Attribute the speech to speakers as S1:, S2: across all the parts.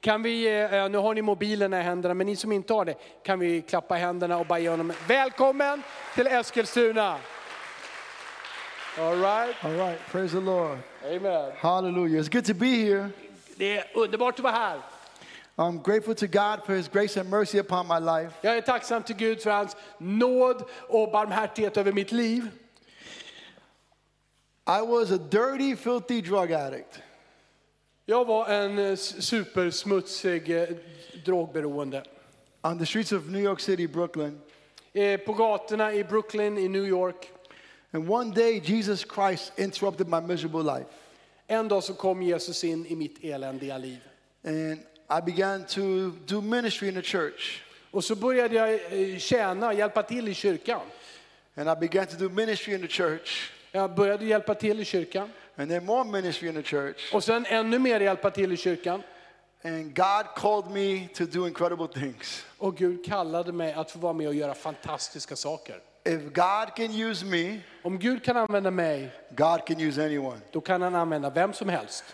S1: Kan vi, eh, nu har ni mobilerna i händerna, men ni som inte har det kan vi klappa händerna och bara ge honom välkommen till Eskilstuna. All right.
S2: All right, praise the Lord.
S1: Amen.
S2: Hallelujah. It's good to be here.
S1: Det är underbart att vara här.
S2: I'm grateful to God for His grace and mercy upon my life.
S1: Jag är tacksam till Gud för hans nåd och barmhärtighet över mitt liv.
S2: I was a dirty, filthy drug addict.
S1: Jag var en eh, s- supersmutsig eh, drogberoende.
S2: On the streets of New York City, Brooklyn.
S1: Eh, På gatorna i Brooklyn i New York.
S2: And one day, Jesus Christ interrupted my miserable life.
S1: En dag så kom Jesus in i mitt eländiga liv.
S2: And I began to do ministry in the church.
S1: Och så började jag eh, tjäna, hjälpa till i kyrkan.
S2: And I began to do ministry in the church.
S1: Jag började hjälpa till i kyrkan.
S2: And then more ministry in the church.
S1: Och sen ännu mer hjälpa till i kyrkan.
S2: And God called me to do incredible things.
S1: Och Gud kallade mig att få vara med och göra fantastiska saker.
S2: If God can use me,
S1: Om Gud kan använda mig,
S2: God can use anyone.
S1: då kan han använda vem som helst.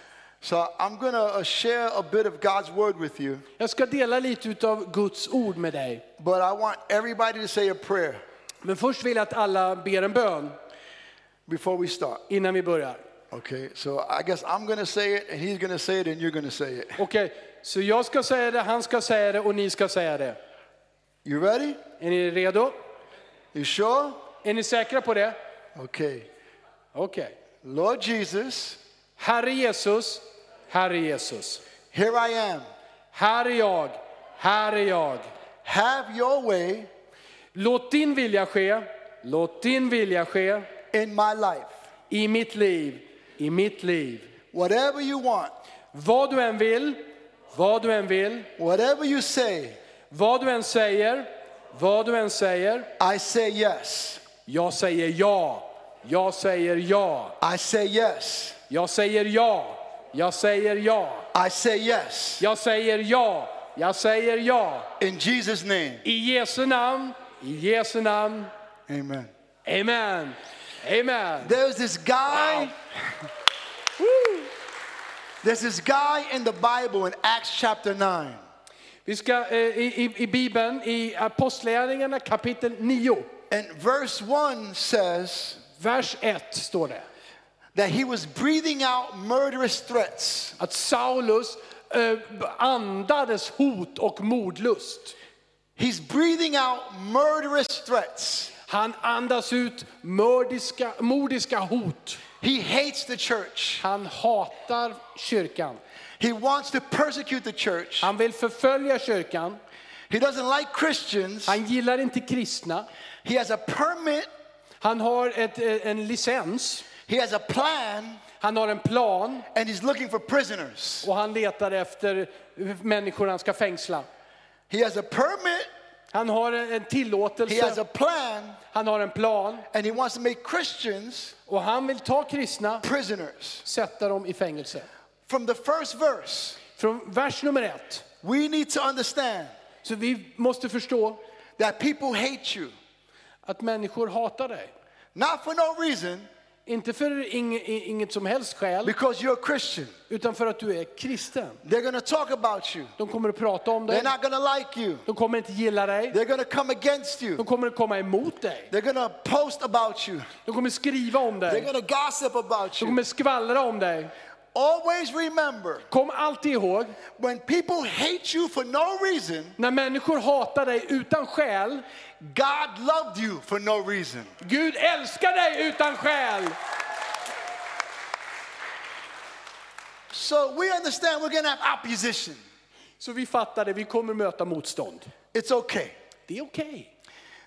S2: So I'm going to share a bit of God's word with you,
S1: Jag ska dela lite av Guds ord med dig.
S2: but I want everybody to say a prayer
S1: Men först vill jag att alla ber en bön
S2: before we start.
S1: innan vi börjar.
S2: Okay, so I guess I'm going to say it, and he's going to say it, and you're going to say it.
S1: Okej, så jag ska säga det, han ska säga det och ni ska säga det.
S2: You ready?
S1: Är ni redo?
S2: You sure?
S1: Är ni säkra på det?
S2: Okay.
S1: Okej.
S2: Lord Jesus,
S1: Herre Jesus, Herre Jesus.
S2: here I am.
S1: Här är jag, här är jag.
S2: Have your way
S1: Låt din vilja ske, låt din vilja ske
S2: in my life.
S1: i mitt liv, i mitt liv.
S2: Whatever you want,
S1: Vad du än vill, vad du än vill,
S2: whatever you say,
S1: vad du än säger, vad du än säger.
S2: I say yes.
S1: Jag säger ja. Jag säger ja.
S2: I say yes.
S1: Jag säger ja. Jag säger ja.
S2: I say yes.
S1: Jag säger ja. Jag säger ja.
S2: In Jesus' name.
S1: I Jesu namn. I Jesu namn.
S2: Amen.
S1: Amen. Amen.
S2: There's this guy.
S1: Wow.
S2: There's this guy in the Bible in Acts chapter 9.
S1: Vi ska eh, i, i, i Bibeln, i Apostlagärningarna kapitel 9,
S2: And verse 1 says
S1: vers 1 står det.
S2: that he was breathing out murderous threats.
S1: Att Saulus eh, andades hot och mordlust.
S2: He's breathing out murderous threats.
S1: Han andas ut mördiska, mordiska hot.
S2: He hates the church.
S1: Han hatar kyrkan.
S2: He wants to persecute the church.
S1: Han vill förfölja kyrkan.
S2: He doesn't like Christians.
S1: Han gillar inte kristna.
S2: He has a permit.
S1: Han har ett, eh, en licens.
S2: He has a plan.
S1: Han har en plan
S2: And he's looking for prisoners.
S1: och han letar efter människor han ska fängsla.
S2: He has a permit.
S1: Han har en en
S2: He has
S1: tillåtelse,
S2: a plan.
S1: han har en plan
S2: And he wants to make Christians
S1: och han vill ta kristna,
S2: prisoners.
S1: sätta dem i fängelse.
S2: From the first verse,
S1: Från vers nummer ett.
S2: we need to understand
S1: Så vi måste förstå
S2: that people hate you,
S1: att människor hatar dig.
S2: not for no reason,
S1: Inte för ing, i- inget som helst skäl,
S2: because you're a Christian.
S1: utan för att du är kristen.
S2: They're going to talk about you.
S1: De kommer att prata om dig,
S2: They're not going to like you.
S1: de kommer inte gilla dig,
S2: They're going to come against
S1: de
S2: you.
S1: kommer att komma emot dig.
S2: They're going to post about you.
S1: De kommer skriva om
S2: They're
S1: dig.
S2: going to gossip about
S1: De
S2: you.
S1: kommer skvallra om dig.
S2: Always remember
S1: Kom alltid ihåg,
S2: when people hate you for no reason,
S1: när människor hatar dig utan skäl,
S2: God loved you for no reason.
S1: Gud älskar dig utan skäl.
S2: So we understand we're going to have opposition.
S1: Så vi fattar det, vi kommer möta motstånd.
S2: It's okay.
S1: Det är okej.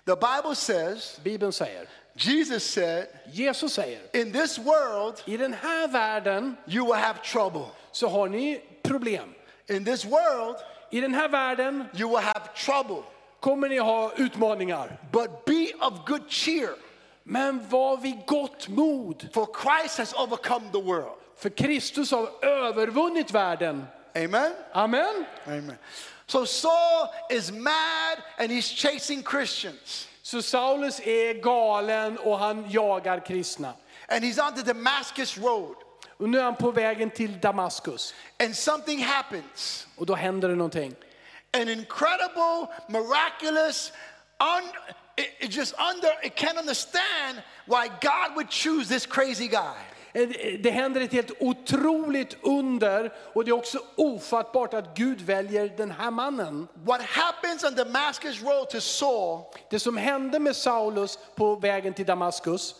S2: The Bible says,
S1: Bibeln säger,
S2: Jesus said,
S1: Jesus säger,
S2: in this world,
S1: i den här världen
S2: you will have trouble.
S1: så har ni problem.
S2: In this world,
S1: I den här världen
S2: you will have trouble.
S1: kommer ni ha utmaningar.
S2: But be of good cheer,
S1: Men var vid gott mod,
S2: for Christ has overcome the world.
S1: för Kristus har övervunnit världen.
S2: Amen?
S1: Amen.
S2: Amen. So Saul is mad and he's chasing Christians.
S1: Så Saulus är galen och han jagar kristna.
S2: And he's on the Damascus road.
S1: Och nu är han på vägen till Damaskus.
S2: and something happens.
S1: Och då händer det någonting.
S2: An incredible, miraculous, un, it, it just under, it can't understand why God would choose this crazy guy.
S1: Eh, Det händer ett helt otroligt under och det är också ofattbart att Gud väljer den här mannen.
S2: What happens on Damascus Road to Saul,
S1: Det som hände med Saulus på vägen till Damaskus,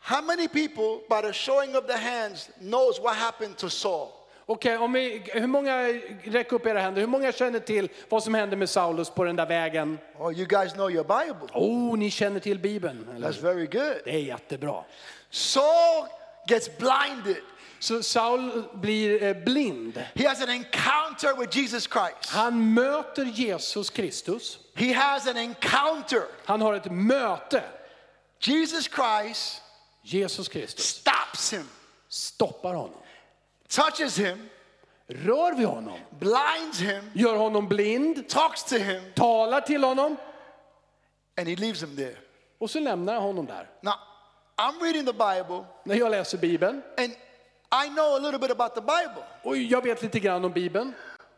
S2: how many people, by the showing of the hands, knows what happened to Saul?
S1: Okej, om vi, hur många, räck upp era händer, hur många känner till vad som hände med Saulus på den där vägen?
S2: Oh, you guys know your Bible.
S1: Oh, ni känner till Bibeln, eller?
S2: That's very good.
S1: Det är jättebra.
S2: Saul gets blinded.
S1: Så Saul blir eh, blind.
S2: He has an encounter with Jesus Christ.
S1: Han möter Jesus Kristus.
S2: He has an encounter.
S1: Han har ett möte.
S2: Jesus Christ
S1: Jesus Kristus
S2: stops him,
S1: stoppar honom.
S2: touches him,
S1: Rör vid honom,
S2: blinds him,
S1: gör honom blind,
S2: talks to him,
S1: talar till honom
S2: and he leaves him there.
S1: och så lämnar jag honom där.
S2: Now, I'm reading the Bible
S1: När jag läser Bibeln,
S2: and I know a little bit about the Bible.
S1: och jag vet lite grann om Bibeln,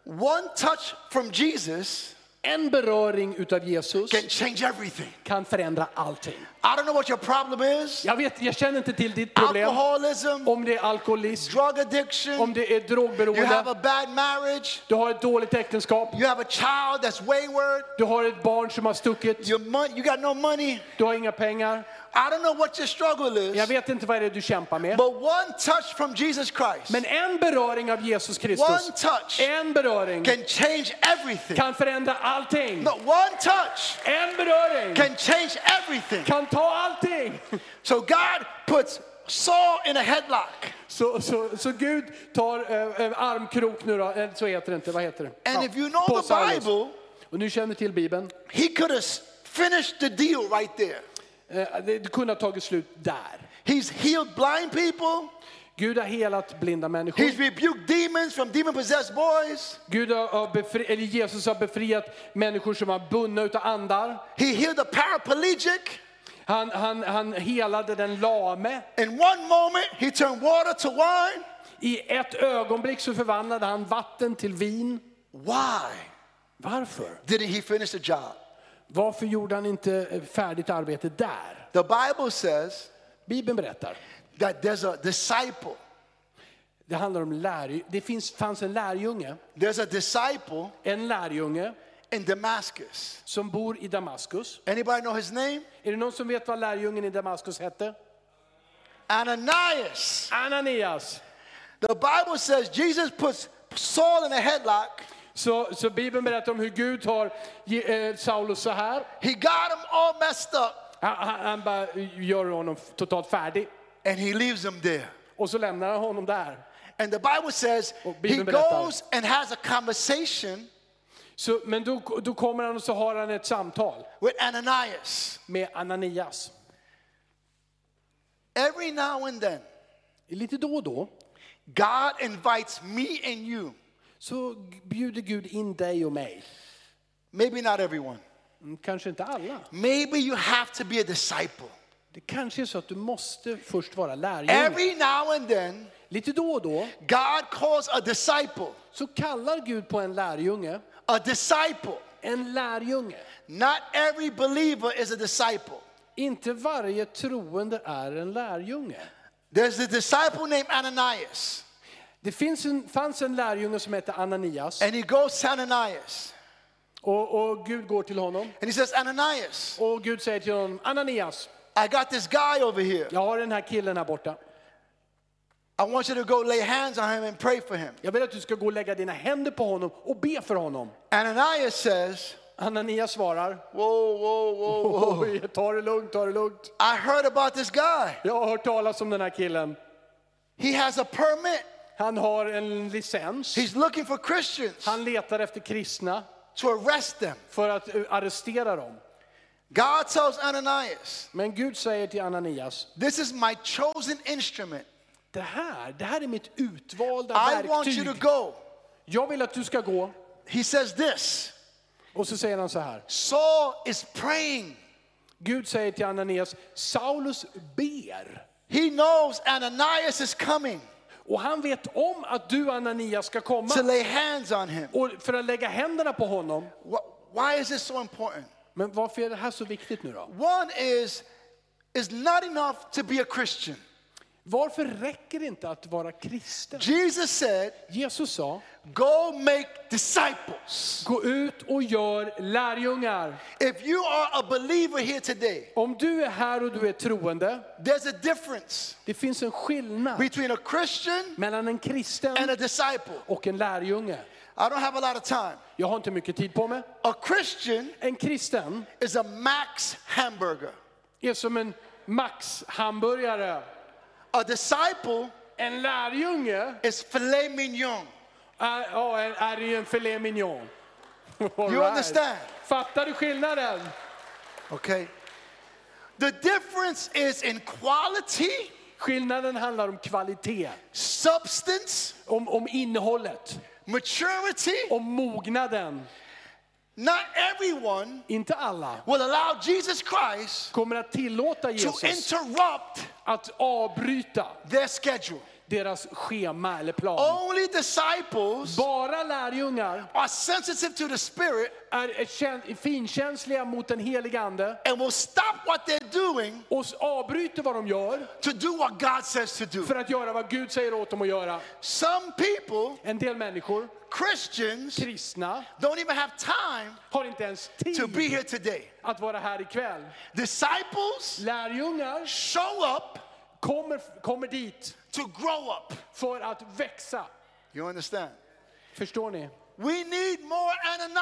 S2: One touch from Jesus
S1: en beröring utav Jesus
S2: can change everything.
S1: kan förändra allting.
S2: I don't know what your problem is
S1: Jag, vet, jag känner inte till ditt problem.
S2: alcoholism,
S1: Om det är alkoholism,
S2: drug
S1: om
S2: addiction,
S1: det är
S2: you have a
S1: drogberoende,
S2: bad marriage,
S1: du har ett dåligt äktenskap,
S2: you have a child that's wayward,
S1: du har ett barn som har stuckit,
S2: your mon- you got no money.
S1: du har inga pengar.
S2: I don't know what your struggle
S1: Jag
S2: is,
S1: vet inte vad det är du kämpar med.
S2: but one touch from Jesus Christ,
S1: Men en beröring av Jesus Kristus,
S2: one touch
S1: en beröring
S2: can change everything.
S1: kan förändra allting.
S2: No, one touch
S1: En beröring
S2: can change everything.
S1: kan ta allting.
S2: So God puts Saul in a headlock
S1: Så, så, så Gud tar eh, eh, armkrok nu då, Eh, så heter det inte, vad heter det?
S2: And if you know
S1: på
S2: the
S1: Oh, Saulus.
S2: Bible-
S1: Och nu känner du till Bibeln.
S2: He could have finished the deal right there.
S1: Eh, Det det kunde ha tagit slut där.
S2: He's healed blind people.
S1: Gud har helat blinda människor.
S2: He's rebuked demons from demon possessed boys.
S1: Gud har, har befri, eller Jesus har befriat människor som var bundna utav andar.
S2: He healed a paraplegic.
S1: Han, han, han helade den lame.
S2: In one moment, he turned water to wine.
S1: I ett ögonblick så förvandlade han vatten till vin.
S2: Why
S1: Varför?
S2: didn't he finish the job?
S1: Varför gjorde han inte eh, färdigt arbetet där?
S2: The Bible says
S1: Bibeln berättar.
S2: that there's a disciple.
S1: Det handlar om lärjungar. Det finns, fanns en lärjunge,
S2: There's a disciple
S1: en lärjunge
S2: in Damascus.
S1: som bor i Damaskus.
S2: Anybody know his name?
S1: Är det någon som vet vad lärjungen i Damaskus hette?
S2: Ananias.
S1: Ananias.
S2: The Bible says Jesus puts Saul in a headlock.
S1: Så, så Bibeln berättar om hur Gud har ge- eh, Saulus så här.
S2: He got him all messed up
S1: Han, han, han bara gör honom totalt färdig.
S2: and he leaves him there.
S1: Och så lämnar han honom där.
S2: And the Bible says
S1: Och Bibeln
S2: he
S1: berättar.
S2: goes and has a conversation
S1: Så, men då, då kommer han och så har han ett samtal
S2: with Ananias.
S1: med Ananias.
S2: Every now and then,
S1: Lite då och då
S2: God invites me and you,
S1: så bjuder Gud in dig och mig.
S2: maybe not everyone.
S1: Mm, Kanske inte alla.
S2: Maybe you have to be a disciple.
S1: Det kanske är så att du måste först vara lärjunge.
S2: Every now and then,
S1: Lite då och då
S2: God calls a disciple,
S1: så kallar Gud på en lärjunge
S2: a disciple.
S1: en lärjunge.
S2: Not every believer is a disciple.
S1: Inte varje troende är en lärjunge.
S2: There's a disciple named Ananias,
S1: Det finns en, fanns en lärjunge som hette Ananias
S2: and he goes to Ananias,
S1: och, och Gud går till honom
S2: and he says, Ananias,
S1: och Gud säger till honom Ananias,
S2: I got this guy over here.
S1: jag har den här killen här borta.
S2: I want you to go lay hands on him and pray for him.
S1: Jag vill att du ska gå och lägga dina händer på honom och be för honom.
S2: Ananias says,
S1: Ananias svarar,
S2: Whoa, whoa, whoa, whoa.
S1: oj, ta det lugnt, ta det lugnt.
S2: I heard about this guy.
S1: Jag har hört talas om den här killen.
S2: He has a permit.
S1: Han har en licens.
S2: He's looking for Christians
S1: Han letar efter kristna
S2: to arrest them.
S1: för att eh, arrestera dem.
S2: God tells Ananias,
S1: Men Gud säger till Ananias,
S2: This is my chosen instrument.
S1: det här, det här är mitt utvalda
S2: I want you to
S1: verktyg.
S2: go.
S1: Jag vill att du ska gå.
S2: He says this
S1: Och så säger han så här.
S2: Saul is praying.
S1: Gud säger till Ananias, Saulus ber.
S2: He knows Ananias is coming.
S1: Och han vet om att du Anania ska komma
S2: to lay hands on him.
S1: och för att lägga händerna på honom.
S2: Wh- Why is this so important?
S1: Men varför är det här så viktigt nu då?
S2: One is, it's not enough to be a Christian.
S1: Varför räcker det inte att vara kristen?
S2: Jesus said,
S1: Jesus sa,
S2: Go make disciples.
S1: gå ut och gör lärjungar.
S2: If you are a believer here today,
S1: Om du är här och du är troende,
S2: there's a difference
S1: det finns en skillnad
S2: between a Christian
S1: mellan en kristen
S2: and a disciple.
S1: och en lärjunge.
S2: I don't have a lot of time.
S1: Jag har inte mycket tid på mig.
S2: A Christian
S1: En kristen
S2: is a Max hamburger.
S1: är som en Max-hamburgare.
S2: A disciple
S1: En lärjunge
S2: is filet mignon.
S1: är, Äh, ja, är- är ju en filet mignon. All
S2: You understand?
S1: Fattar du skillnaden?
S2: Okay? The difference is in quality,
S1: Skillnaden handlar om kvalitet,
S2: substance,
S1: om, om innehållet,
S2: maturity.
S1: om mognaden.
S2: Not everyone
S1: Inte alla
S2: will allow Jesus Christ
S1: kommer att tillåta
S2: to
S1: Jesus
S2: interrupt
S1: att avbryta
S2: their schedule.
S1: deras schema eller plan.
S2: Only disciples
S1: Bara lärjungar
S2: are sensitive to the Spirit
S1: är kän- finkänsliga mot den helige Ande
S2: and will stop what they're doing
S1: och s- avbryter vad de gör
S2: to do what God says to do.
S1: för att göra vad Gud säger åt dem att göra.
S2: Some people,
S1: En del människor,
S2: Christians,
S1: kristna,
S2: don't even have time
S1: har inte ens
S2: to be
S1: tid
S2: here today.
S1: att vara här ikväll.
S2: Disciples
S1: Lärjungar
S2: show up
S1: kommer, kommer dit
S2: to grow up.
S1: för att växa.
S2: You understand?
S1: Förstår ni?
S2: We need more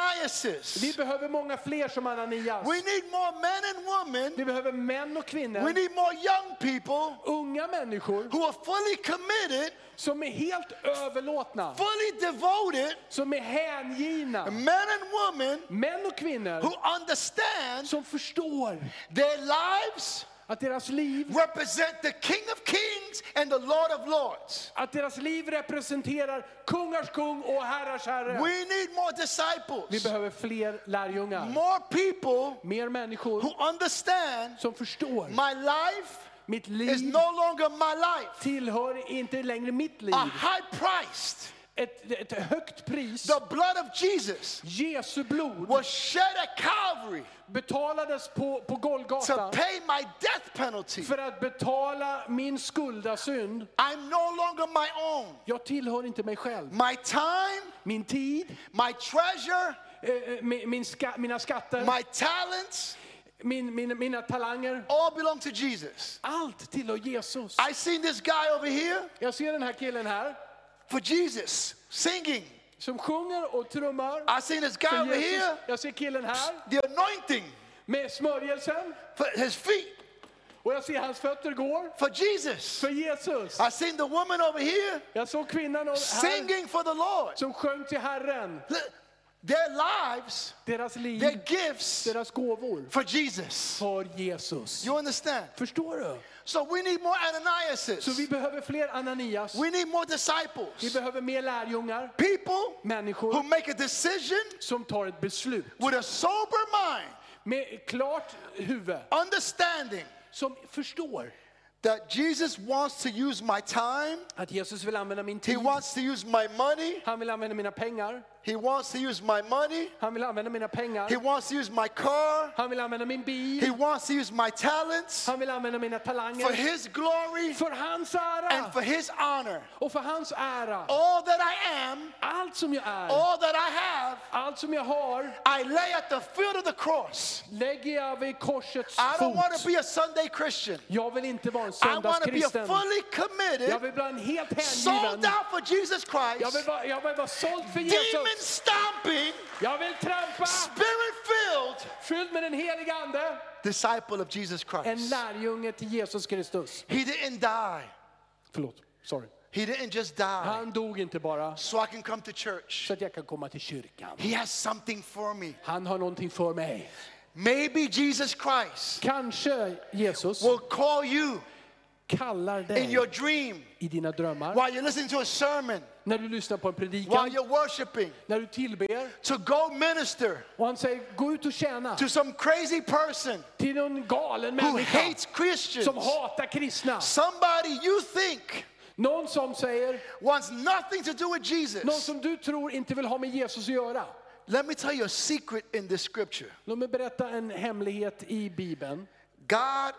S1: Vi
S2: Ananiases.
S1: behöver många fler som Ananias.
S2: We need more men and
S1: Vi
S2: women.
S1: behöver män och
S2: We
S1: kvinnor,
S2: need more young people
S1: unga människor
S2: who are fully committed,
S1: som är helt överlåtna,
S2: fully devoted,
S1: som är hängivna.
S2: men and women
S1: Män och kvinnor
S2: who understand
S1: som förstår
S2: their lives
S1: att deras liv,
S2: represent the King of Kings and the Lord of Lords.
S1: att deras liv representerar kungars kung och herrars herre.
S2: We need more
S1: Vi
S2: disciples,
S1: behöver fler lärjungar,
S2: more people
S1: mer människor
S2: who understand
S1: som förstår.
S2: my life
S1: Mitt
S2: is
S1: liv
S2: no longer my life.
S1: tillhör inte längre mitt liv.
S2: A high price,
S1: Ett, ett högt pris.
S2: the blood of Jesus
S1: Jesu blod
S2: was shed at Calvary
S1: betalades på, på
S2: to
S1: Golgata
S2: pay my death penalty.
S1: för att betala min skuldasynd.
S2: I'm no longer my own.
S1: Jag tillhör inte mig själv.
S2: My time,
S1: Min tid,
S2: my treasure,
S1: eh, eh, min, min ska, mina skatter,
S2: my talents
S1: min, min, mina talanger.
S2: all belong to Jesus.
S1: Allt tillhör Jesus.
S2: I seen this guy over here
S1: Jag ser den här killen här
S2: for Jesus singing.
S1: som sjunger och trummar.
S2: I seen this guy
S1: för
S2: over here,
S1: Jesus. Jag ser killen här
S2: the anointing
S1: med smörjelsen
S2: for his feet
S1: och jag ser hans fötter går
S2: for Jesus.
S1: för Jesus.
S2: I seen the woman over here
S1: Jag såg kvinnan och- här
S2: singing for the Lord.
S1: som sjöng till Herren.
S2: Look, Their lives,
S1: Deras liv,
S2: their gifts
S1: deras gåvor
S2: for Jesus.
S1: för Jesus.
S2: You understand?
S1: Förstår du?
S2: So we need more
S1: Så vi
S2: Ananiases.
S1: behöver fler Ananias.
S2: We need more
S1: Vi
S2: disciples.
S1: behöver mer lärjungar,
S2: People who
S1: människor
S2: make a decision
S1: som tar ett beslut
S2: with a sober mind,
S1: med klart huvud,
S2: understanding
S1: som förstår
S2: that Jesus wants to use my time,
S1: att Jesus vill använda min
S2: He
S1: tid.
S2: wants to use my money,
S1: Han vill använda mina pengar.
S2: He wants to use my money,
S1: Han vill använda mina pengar.
S2: He wants to use my car,
S1: Han vill använda min bil.
S2: He wants to use my talents
S1: Han vill använda mina
S2: for
S1: talanger.
S2: His glory
S1: För hans
S2: and
S1: ära
S2: for His honor.
S1: och för hans ära.
S2: All that I am,
S1: Allt som jag är,
S2: all that I have,
S1: allt som jag har
S2: I lay at the foot of the cross.
S1: lägger jag vid korsets
S2: I don't want to
S1: fot.
S2: be a Sunday Christian.
S1: Jag vill inte vara en
S2: I want to be a
S1: söndagskristen.
S2: fully
S1: Jag
S2: committed,
S1: vill bli en helt hängiven.
S2: sold out for Jesus
S1: Jag vill
S2: Christ,
S1: vara, jag vill vara såld för
S2: demon
S1: Jesus.
S2: stomping,
S1: Jag vill trampa,
S2: spirit filled
S1: fylld med den heliga Ande.
S2: disciple of Jesus
S1: En
S2: Christ.
S1: lärjunge till Jesus Kristus.
S2: He didn't die.
S1: Förlåt, sorry.
S2: He didn't just die
S1: Han dog inte bara
S2: so I can come to church.
S1: så att jag kan komma till kyrkan.
S2: He has something for me.
S1: Han har någonting för mig.
S2: Maybe Jesus Christ
S1: Kanske Jesus
S2: will call you
S1: kallar
S2: in
S1: dig
S2: your dream
S1: i dina drömmar,
S2: while you're listening to a sermon,
S1: när du lyssnar på en
S2: while
S1: predikan,
S2: you're worshiping,
S1: när du tillber.
S2: to go minister
S1: Och han säger, gå ut och tjäna
S2: to some crazy person
S1: till någon galen
S2: who
S1: människa
S2: hates Christians.
S1: som hatar kristna.
S2: Somebody you think
S1: Någon som säger,
S2: wants nothing to do with
S1: någon
S2: Jesus.
S1: som du tror inte vill ha med Jesus att göra.
S2: Let me tell you a secret in this scripture.
S1: Låt mig berätta en hemlighet i Bibeln.
S2: God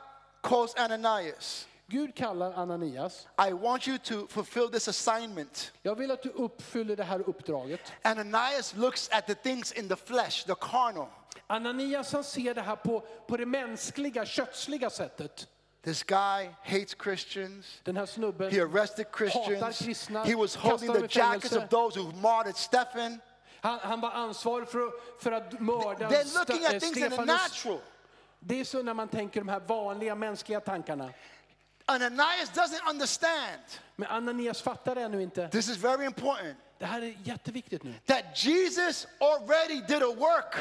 S2: calls Ananias.
S1: Gud kallar Ananias.
S2: I want you to fulfill this assignment.
S1: Jag vill att du uppfyller det här uppdraget.
S2: Ananias looks at the things in the flesh, the carnal.
S1: Ananias han ser det här på, på det mänskliga, kötsliga sättet.
S2: This guy hates Christians.
S1: Den här snubben
S2: He
S1: Oh,
S2: arrested
S1: hatar
S2: Christians.
S1: kristna,
S2: He was holding
S1: kastar dem
S2: the
S1: i
S2: jackets
S1: fängelse.
S2: of those who martyred Stephen.
S1: Han, han var ansvarig för, att- för att mörda
S2: They're looking
S1: Sta- eh,
S2: at things in the
S1: Stefanus.
S2: natural.
S1: Det är så när man tänker de här vanliga mänskliga tankarna.
S2: Ananias doesn't understand.
S1: Men Ananias fattar ännu inte.
S2: This is very important.
S1: Det här är jätteviktigt nu.
S2: That Jesus already did a work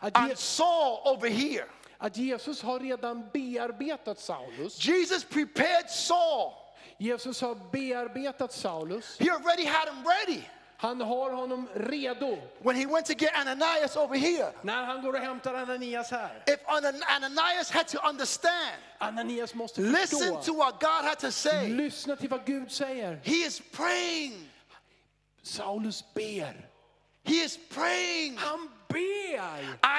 S1: Att,
S2: on
S1: Je-
S2: Saul over here.
S1: att Jesus har redan bearbetat Saulus.
S2: Jesus prepared Saul.
S1: Jesus har bearbetat Saulus.
S2: He already had him ready.
S1: Han har honom redo.
S2: When he went to get Ananias over here,
S1: När han går och hämtar Ananias här.
S2: if Ana- Ananias had to understand,
S1: Ananias måste
S2: listen to
S1: förstå.
S2: what God had to say,
S1: Lyssna till vad Gud säger.
S2: he is praying.
S1: Saulus ber.
S2: He is praying.
S1: Han ber!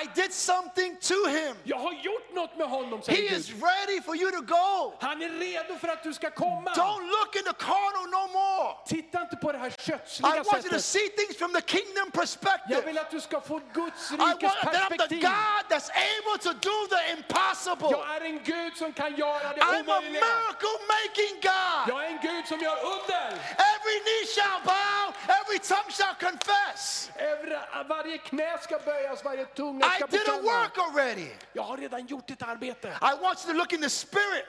S2: I did something to him.
S1: Jag har gjort något med honom,
S2: He
S1: säger
S2: is
S1: Gud.
S2: ready for you to go.
S1: Han är redo för att du ska komma.
S2: Don't look in the carnal no more.
S1: Titta inte på det här
S2: I
S1: kötsliga
S2: want you to
S1: sättet.
S2: see things from the kingdom
S1: Jag
S2: perspective.
S1: vill att du ska få Guds
S2: I
S1: rikes
S2: want that I'm the
S1: perspektiv.
S2: God that's able to do the impossible.
S1: Jag är en Gud som kan göra det
S2: I'm a
S1: omöjliga.
S2: miracle making God.
S1: Jag är en Gud som gör under.
S2: Every knee shall bow, every tongue shall confess.
S1: Över, uh, varje knä ska böjas, varje tunga
S2: I
S1: ska
S2: did a
S1: bekänna.
S2: work already.
S1: Jag har redan gjort ett arbete.
S2: I want you to look in the spirit,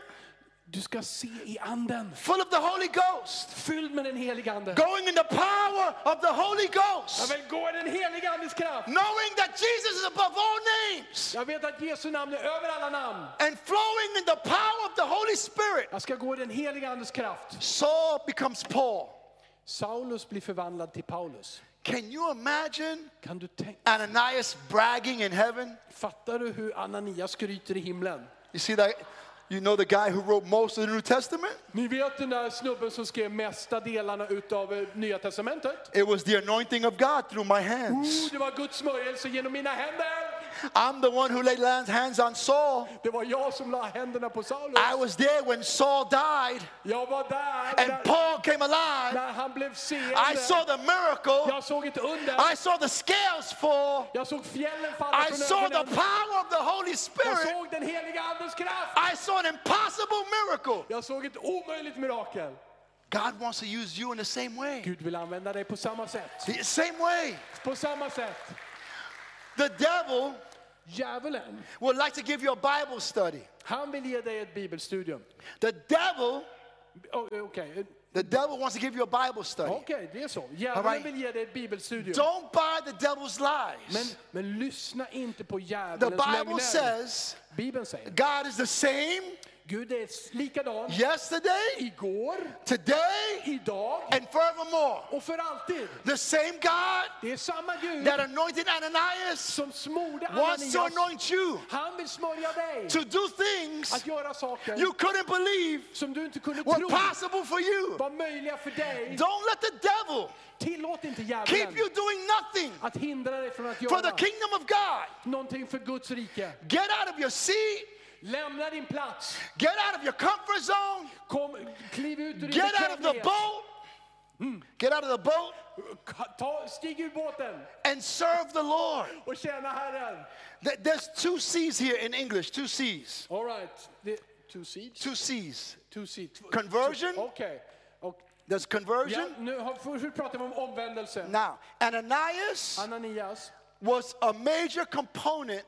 S1: Du ska se i anden.
S2: full of the Holy Ghost,
S1: Fylld med den heliga anden.
S2: going in the power of the Holy
S1: Jag
S2: Ghost,
S1: vill gå i den heliga andes kraft.
S2: knowing that Jesus is above all names,
S1: Jag vet att Jesu namn är över alla namn.
S2: and flowing in the power of the Holy Spirit.
S1: Jag ska gå i den heliga andes kraft.
S2: Saul becomes Paul.
S1: Saulus blir förvandlad till Paulus.
S2: Can you imagine
S1: Kan du tänka?
S2: Ananias bragging in heaven?
S1: Fattar du hur Ananias skryter i himlen?
S2: You see that? You know the guy who wrote most of the New Testament?
S1: Ni vet den där snubben som skrev mesta delarna utav eh, Nya Testamentet?
S2: It was the anointing of God through my hands.
S1: Oh, det var Guds smörjelse genom mina händer.
S2: I'm the one who laid hands on Saul.
S1: Det var jag som la händerna på Saulus.
S2: I was there when Saul died
S1: Jag var där
S2: and
S1: när,
S2: Paul came alive.
S1: när han blev
S2: I saw
S1: seende.
S2: the miracle.
S1: Jag såg ett under.
S2: I saw the scales fall.
S1: Jag såg fjällen falla
S2: I
S1: från
S2: saw the
S1: ögonen.
S2: power of the Holy
S1: Jag
S2: Spirit.
S1: såg den heliga andens kraft.
S2: I saw an impossible miracle.
S1: Jag såg ett omöjligt mirakel.
S2: God wants to use you in the same way.
S1: Gud vill använda dig på samma sätt.
S2: The same way.
S1: På samma sätt.
S2: The devil
S1: Djävulen,
S2: would like to give you a Bible study.
S1: han vill ge dig ett bibelstudium.
S2: The devil,
S1: O- Okej, okay.
S2: the devil wants to give you a Bible study.
S1: det är så. Djävulen
S2: Alright.
S1: vill ge dig ett bibelstudium.
S2: Don't buy the devil's
S1: Men,
S2: lies.
S1: men lyssna inte på
S2: The
S1: djävulens
S2: Bible
S1: lögner.
S2: says
S1: Bibeln säger,
S2: God is the same
S1: Gud är s- likadan
S2: yesterday,
S1: igår,
S2: today,
S1: idag
S2: and forevermore.
S1: och för alltid.
S2: The same God
S1: Det är samma Gud
S2: that anointed Ananias
S1: som smorde
S2: wants to
S1: Ananias.
S2: anoint you
S1: Han vill smörja dig
S2: to do things
S1: att göra saker
S2: you couldn't believe
S1: som du inte kunde
S2: were
S1: tro
S2: possible for you.
S1: var möjliga för dig.
S2: Don't let the devil
S1: Tillåt inte
S2: keep
S1: djävulen
S2: you doing nothing
S1: att hindra dig från att
S2: for the
S1: göra
S2: kingdom of God.
S1: någonting för Guds rike.
S2: Get out of your seat,
S1: Lämna din plats.
S2: get out of your comfort zone,
S1: Kom, kliv ut ur din
S2: get out of the
S1: bekvämlighet.
S2: boat, get out of the boat
S1: Ta, stig ur båten
S2: and serve the Lord.
S1: och tjäna Herren.
S2: Th- There's two C's here in English, two C's.
S1: All right. Det- Two seeds?
S2: Two C's.
S1: Two seeds. Tw-
S2: Conversion.
S1: tw- Okej. Och-
S2: There's
S1: Ja,
S2: conversion.
S1: nu har, först pratar vi om omvändelse.
S2: Now, Ananias
S1: Uh, Ananias.
S2: was a major component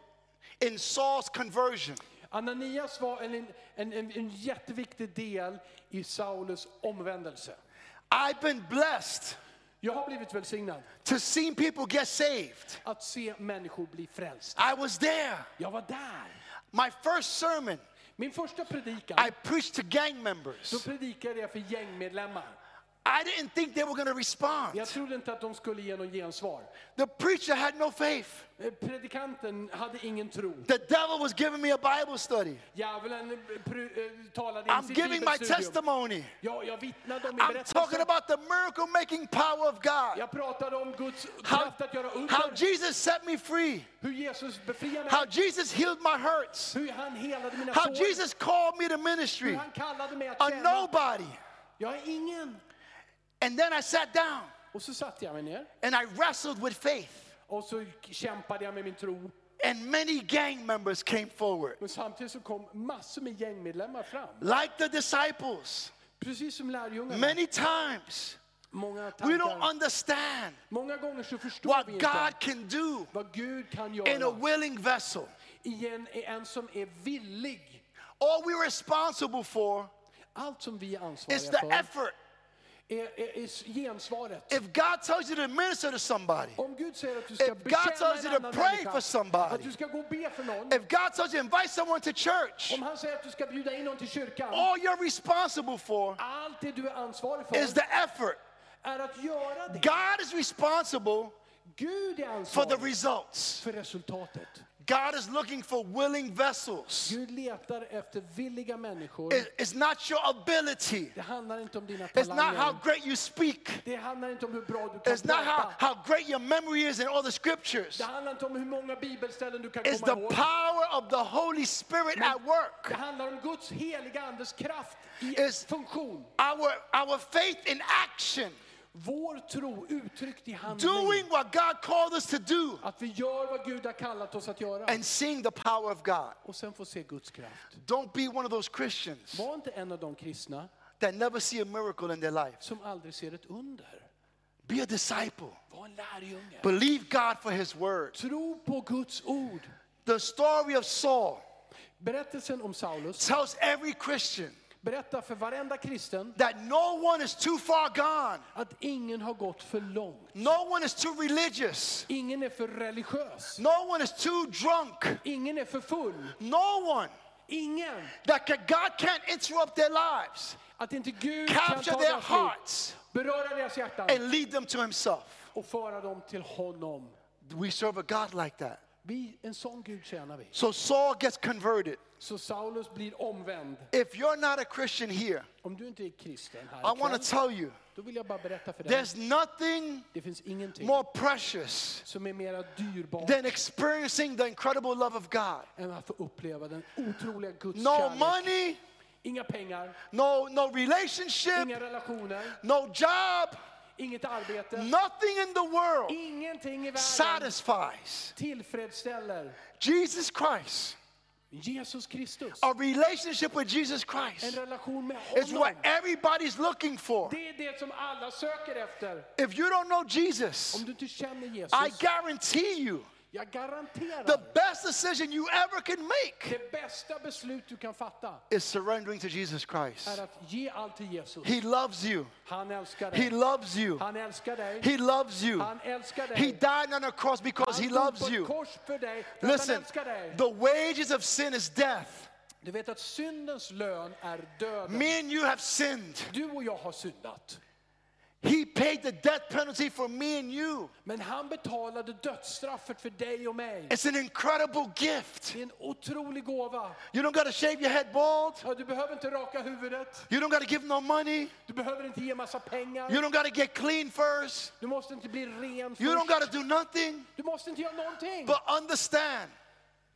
S2: in Saul's conversion.
S1: Ananias var en, en, en, en jätteviktig del i Saulus omvändelse.
S2: I've been blessed
S1: Jag har blivit välsignad
S2: to see people get saved.
S1: att se människor bli frälsta.
S2: I was there.
S1: Jag var där.
S2: My first sermon,
S1: Min första predikan,
S2: I preached to gang
S1: då
S2: members.
S1: predikade jag för gängmedlemmar.
S2: I didn't think they were going to respond.
S1: Jag trodde inte att de skulle ge någon gensvar.
S2: The preacher had no faith.
S1: Eh, Predikanten hade ingen tro.
S2: The devil was giving me a Bible study.
S1: Djävulen eh, pru- eh, talade in
S2: I'm
S1: sitt
S2: giving my
S1: bibelstudium.
S2: testimony.
S1: Ja, jag vittnade om min
S2: I'm talking
S1: berättelse.
S2: about the miracle making power of God.
S1: Jag pratade om Guds
S2: How,
S1: kraft att göra
S2: how
S1: under,
S2: Jesus set me free.
S1: hur Jesus befriade mig,
S2: How Jesus healed my hurts.
S1: hur han helade mina
S2: How
S1: sår,
S2: Jesus called me to
S1: hur
S2: ministry.
S1: han kallade mig att
S2: A
S1: tjäna.
S2: nobody.
S1: Jag är ingen.
S2: And then I sat down
S1: Och så satte jag mig ner
S2: and I wrestled with faith.
S1: och så kämpade jag med min tro.
S2: And many gang members came forward.
S1: Men samtidigt så kom massor med gängmedlemmar fram.
S2: Like the disciples,
S1: Precis som lärjungarna.
S2: many times
S1: Många
S2: we don't
S1: tankar.
S2: understand
S1: Många gånger så förstår vi
S2: what
S1: inte
S2: God can do
S1: vad Gud kan
S2: in a
S1: göra
S2: willing vessel.
S1: i en, i en som är villig.
S2: All we're responsible for
S1: Allt som vi är
S2: is
S1: ansvariga
S2: the
S1: för
S2: effort.
S1: är, är, är gensvaret.
S2: If God tells you to minister to somebody,
S1: Om Gud säger att du ska
S2: If God tells
S1: betjäna
S2: you
S1: en
S2: to
S1: annan
S2: pray
S1: människa,
S2: for somebody.
S1: att du ska gå och be för någon,
S2: if God tells you to invite someone to church,
S1: om han säger att du ska bjuda in någon till kyrkan,
S2: all you're responsible for
S1: allt det du är ansvarig för
S2: is the effort.
S1: är att göra det.
S2: God is responsible
S1: Gud är
S2: for the
S1: ansvarig
S2: results.
S1: för resultatet.
S2: God is looking for willing vessels.
S1: Gud letar efter villiga människor.
S2: It- It's not your ability.
S1: Det handlar inte om dina
S2: It's not how
S1: talanger.
S2: great you speak.
S1: Det handlar inte om hur bra du kan
S2: It's not how,
S1: prata.
S2: how great your memory is in all the scriptures.
S1: Det handlar inte om hur många bibelställen du kan
S2: It's
S1: komma
S2: the
S1: ihåg.
S2: power of the Holy Spirit at work.
S1: Det handlar om Guds heliga andes kraft i
S2: Is-
S1: funktion.
S2: Our, our faith in action,
S1: Vår tro uttryckt i handling.
S2: doing what God called us to do,
S1: Att vi gör vad Gud har kallat oss att göra.
S2: and seeing the power of God.
S1: Och sen få se Guds kraft.
S2: Don't be one of those Christians
S1: Var inte en av de kristna
S2: that never see a miracle in their life.
S1: som aldrig ser ett under.
S2: Be a disciple.
S1: Var en lärjunge.
S2: Believe God for His word.
S1: Tro på Guds ord.
S2: The story of Saul
S1: Berättelsen om Saulus
S2: tells every Christian
S1: berättar för varenda kristen
S2: that no one is too far gone,
S1: att ingen har gått för långt.
S2: no one is too religious,
S1: Ingen är för religiös.
S2: no one is too drunk,
S1: Ingen är för full.
S2: no one
S1: Ingen.
S2: that ca- God can't interrupt their lives,
S1: Att inte Gud kan
S2: capture
S1: ta
S2: their
S1: deras liv,
S2: hearts,
S1: beröra deras hjärtan
S2: and lead them to Himself.
S1: och föra dem till honom.
S2: We serve a God like that.
S1: Vi, en sån Gud tjänar vi.
S2: So Saul gets converted.
S1: Så Saulus blir omvänd.
S2: If you're not a Christian here,
S1: Om du inte är kristen
S2: I
S1: här
S2: want
S1: ikväll,
S2: to tell you
S1: då vill jag bara berätta för dig.
S2: there's nothing
S1: Det finns ingenting
S2: more precious
S1: som är mera dyrbart
S2: than experiencing the incredible love of God.
S1: än att få uppleva den otroliga Guds
S2: No
S1: kärlek.
S2: money,
S1: Inga pengar,
S2: no no relationship,
S1: inga relationer,
S2: no job,
S1: inget arbete,
S2: nothing in the world
S1: ingenting i världen
S2: satisfies.
S1: tillfredsställer
S2: Jesus Christ,
S1: Jesus Kristus.
S2: a relationship with Jesus
S1: En
S2: Christ
S1: relation med
S2: is
S1: honom.
S2: what everybody's looking for.
S1: Det är det som alla söker efter.
S2: If you don't know Jesus,
S1: Om du inte känner
S2: I
S1: Jesus,
S2: guarantee you
S1: jag
S2: the
S1: garanterar
S2: best decision you ever can make
S1: det bästa beslut du kan fatta
S2: is surrendering to Jesus
S1: är
S2: Christ.
S1: att ge allt till Jesus.
S2: He loves you.
S1: Han älskar
S2: He
S1: dig.
S2: loves you.
S1: Han älskar dig.
S2: He loves you.
S1: Han älskar
S2: He
S1: dig.
S2: died on a cross because
S1: Han
S2: he
S1: dog
S2: loves
S1: på ett
S2: you.
S1: kors för dig för att han
S2: Listen,
S1: älskar dig.
S2: the wages of sin is death.
S1: Du vet att syndens lön är döden.
S2: Me and you have sinned.
S1: Du och jag har syndat.
S2: He paid the death penalty for me and you.
S1: Men han betalade dödsstraffet för dig och mig.
S2: It's an incredible gift.
S1: Det är en otrolig gåva.
S2: You don't got to shave your head bald.
S1: Ja, Du behöver inte raka huvudet.
S2: You don't got to give no money.
S1: Du behöver inte ge massa
S2: You
S1: pengar.
S2: don't got to get clean first.
S1: Du måste inte bli ren
S2: You don't
S1: först.
S2: got to do nothing.
S1: Du måste inte göra någonting.
S2: But understand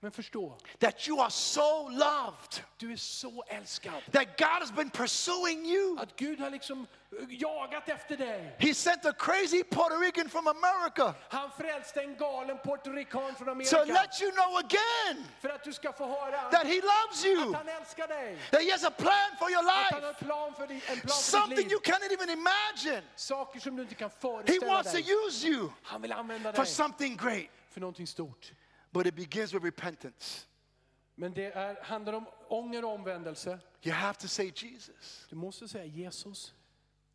S1: Men förstå,
S2: that you are so loved,
S1: du är så älskad.
S2: that God has been pursuing you.
S1: Att Gud har liksom eh, jagat efter dig.
S2: He sent a crazy Puerto Rican from America
S1: Han frälste en galen puertorikan från
S2: to
S1: Amerika.
S2: let you know again
S1: För att du ska få höra
S2: that He loves
S1: att
S2: you,
S1: han älskar dig.
S2: that He has a plan for your
S1: Att han har
S2: life,
S1: en plan för dig, en plan för ditt
S2: something
S1: liv.
S2: you cannot even imagine.
S1: Saker som du inte kan
S2: He
S1: föreställa
S2: wants to
S1: dig.
S2: use you
S1: Han vill använda
S2: for
S1: dig
S2: something great,
S1: för någonting stort.
S2: but it begins with repentance.
S1: Men det är, handlar om ånger och omvändelse.
S2: You have to say, Jesus,
S1: Du måste säga Jesus,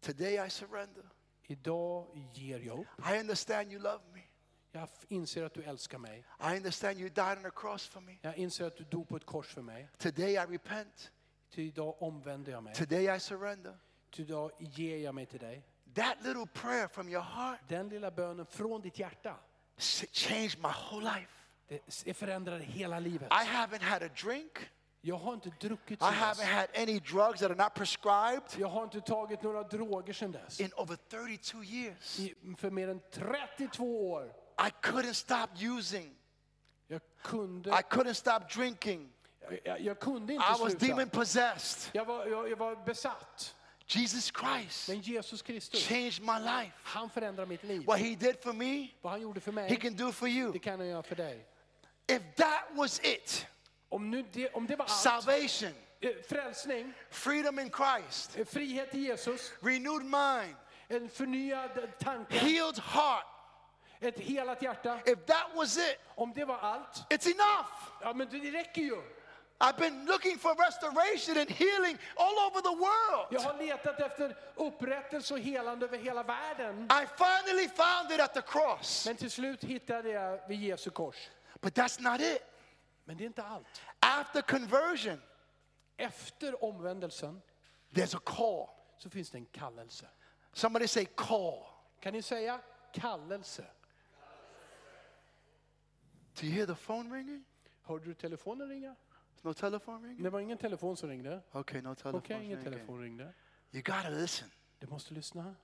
S2: today I surrender.
S1: idag ger jag upp.
S2: I understand you love me.
S1: Jag f- inser att du älskar mig.
S2: I understand you died on the cross for me.
S1: Jag inser att du dog på ett kors för mig.
S2: Today I repent.
S1: Till idag omvänder jag mig.
S2: Today I surrender.
S1: idag ger jag mig till dig.
S2: That little prayer from your heart
S1: Den lilla bönen från ditt hjärta,
S2: s- changed my whole life.
S1: det det förändrade hela livet.
S2: I haven't had a drink.
S1: Jag har inte druckit
S2: I
S1: sedan
S2: haven't
S1: dess.
S2: had any drugs that are not prescribed
S1: Jag har inte tagit några droger sedan dess.
S2: in over 32 years.
S1: I, för mer än 32 år.
S2: I couldn't stop using.
S1: Jag kunde,
S2: I couldn't stop drinking.
S1: jag, jag kunde inte
S2: I was demon
S1: sluta.
S2: possessed.
S1: Jag var, jag, jag var besatt.
S2: Jesus Christ
S1: Men Jesus Kristus,
S2: changed my life.
S1: han förändrar mitt liv.
S2: What he did for me,
S1: Vad han gjorde för
S2: he
S1: mig,
S2: can do for
S1: det
S2: you.
S1: kan han göra för dig.
S2: If that was it,
S1: Om, nu det, om det var allt,
S2: salvation,
S1: eh, frälsning,
S2: freedom in Christ,
S1: eh, frihet i Jesus,
S2: renewed mind,
S1: en förnyad tanke,
S2: healed heart,
S1: ett helat hjärta.
S2: if that was it,
S1: Om det var allt,
S2: it's enough.
S1: ja men det räcker ju.
S2: I've been looking for restoration and healing all over the
S1: Jag
S2: world.
S1: har letat efter upprättelse och helande över hela världen.
S2: I finally found it at the cross.
S1: Men till slut hittade jag vid Jesu kors.
S2: But that's not it.
S1: Men det är inte allt.
S2: After conversion,
S1: Efter omvändelsen
S2: there's a call.
S1: så finns det en kallelse.
S2: Somebody say call.
S1: Kan ni säga kallelse?
S2: Do you hear the phone ringing?
S1: Hörde du telefonen ringa?
S2: No telephone ringing?
S1: Det var ingen telefon som ringde.
S2: Okay, no telephone
S1: Okej, ingen
S2: ringing.
S1: telefon ringde.
S2: You gotta listen.
S1: Du måste lyssna.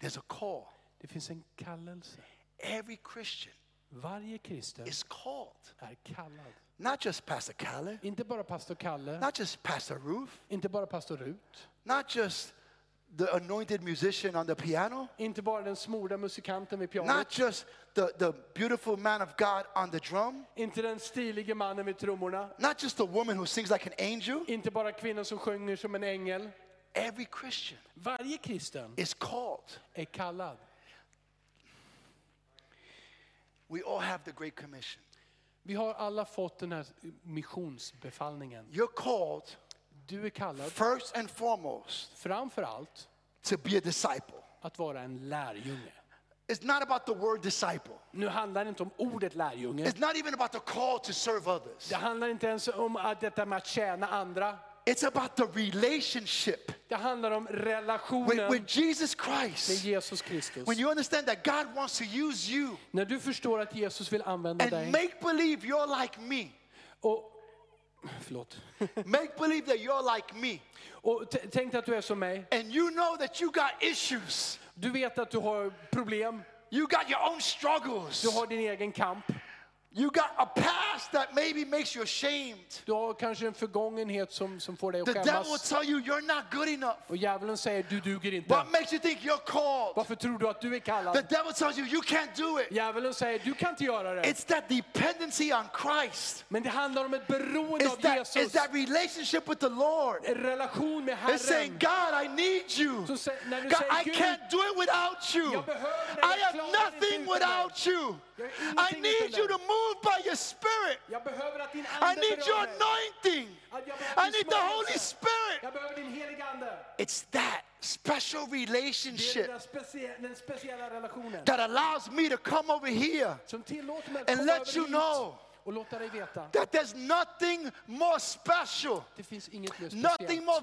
S2: There's a call.
S1: Det finns en kallelse.
S2: Every Christian
S1: Varje kristen
S2: is called.
S1: är kallad.
S2: Not just Pastor Callie,
S1: Inte bara pastor Kalle,
S2: not just Pastor Ruth,
S1: inte bara pastor Rut,
S2: not just the anointed musician on the piano,
S1: inte bara den smorda musikanten vid pianot,
S2: not just the, the beautiful man of God on the drum,
S1: inte den stilige mannen vid trummorna,
S2: not just the woman who sings like an angel.
S1: inte bara kvinnan som sjunger som en ängel.
S2: Every Christian
S1: Varje kristen
S2: is called.
S1: är kallad.
S2: We all have the Great Commission.
S1: Vi har alla fått den här missionsbefallningen.
S2: You're called
S1: Du är kallad,
S2: first and foremost
S1: framför allt,
S2: to be a disciple.
S1: att vara en lärjunge.
S2: It's not about the word disciple.
S1: Nu handlar det inte om ordet lärjunge.
S2: It's not even about the call to serve others.
S1: Det handlar inte ens om att detta med att tjäna andra.
S2: It's about the relationship
S1: Det handlar om
S2: with, with
S1: relationen
S2: Jesus
S1: med
S2: Christ.
S1: Jesus Kristus.
S2: When you understand that God wants to use you
S1: När du förstår att Jesus vill använda
S2: and
S1: dig
S2: make believe you're like me,
S1: och, förlåt,
S2: make believe that you're like me,
S1: och t- tänk dig att du är som mig.
S2: and you know that you got issues,
S1: Du vet att du har problem,
S2: you got your own
S1: du
S2: struggles,
S1: har din egen kamp.
S2: you got a past that maybe makes you ashamed.
S1: Du har kanske en förgångenhet som, som får dig att
S2: The devil will
S1: skämmas.
S2: tell you you're not good enough.
S1: Och djävulen säger du duger inte.
S2: What makes you think you're called?
S1: Varför tror du att du är
S2: The
S1: kallad?
S2: devil tells you you can't do it.
S1: Djävulen säger du kan inte göra det.
S2: It's that dependency on Christ.
S1: Men det handlar om ett beroende
S2: It's
S1: av
S2: that, it's
S1: Jesus.
S2: that relationship with the Lord.
S1: En relation med
S2: It's saying,
S1: Herren.
S2: God, I need you.
S1: Så sä- när du
S2: God,
S1: säger
S2: I
S1: Gud,
S2: can't do it without you.
S1: jag behöver dig,
S2: I
S1: jag
S2: have
S1: klarar inte
S2: nothing
S1: utan
S2: without you.
S1: Jag är
S2: I
S1: ingenting
S2: need
S1: utan
S2: you
S1: dig.
S2: to move by your spirit.
S1: jag behöver att din
S2: I
S1: ande
S2: need your
S1: berör dig.
S2: anointing.
S1: Att jag behöver
S2: I
S1: din
S2: need the Holy
S1: smörjelse.
S2: Spirit.
S1: Jag behöver din heliga ande.
S2: It's that special
S1: Det är den,
S2: relationship
S1: där specie- den speciella relationen
S2: that allows me to come over here
S1: som tillåter mig att
S2: and
S1: komma
S2: let
S1: över
S2: you
S1: hit
S2: know
S1: och låta dig veta.
S2: that there's nothing more special,
S1: Det finns inget mer
S2: nothing
S1: speciellt,
S2: more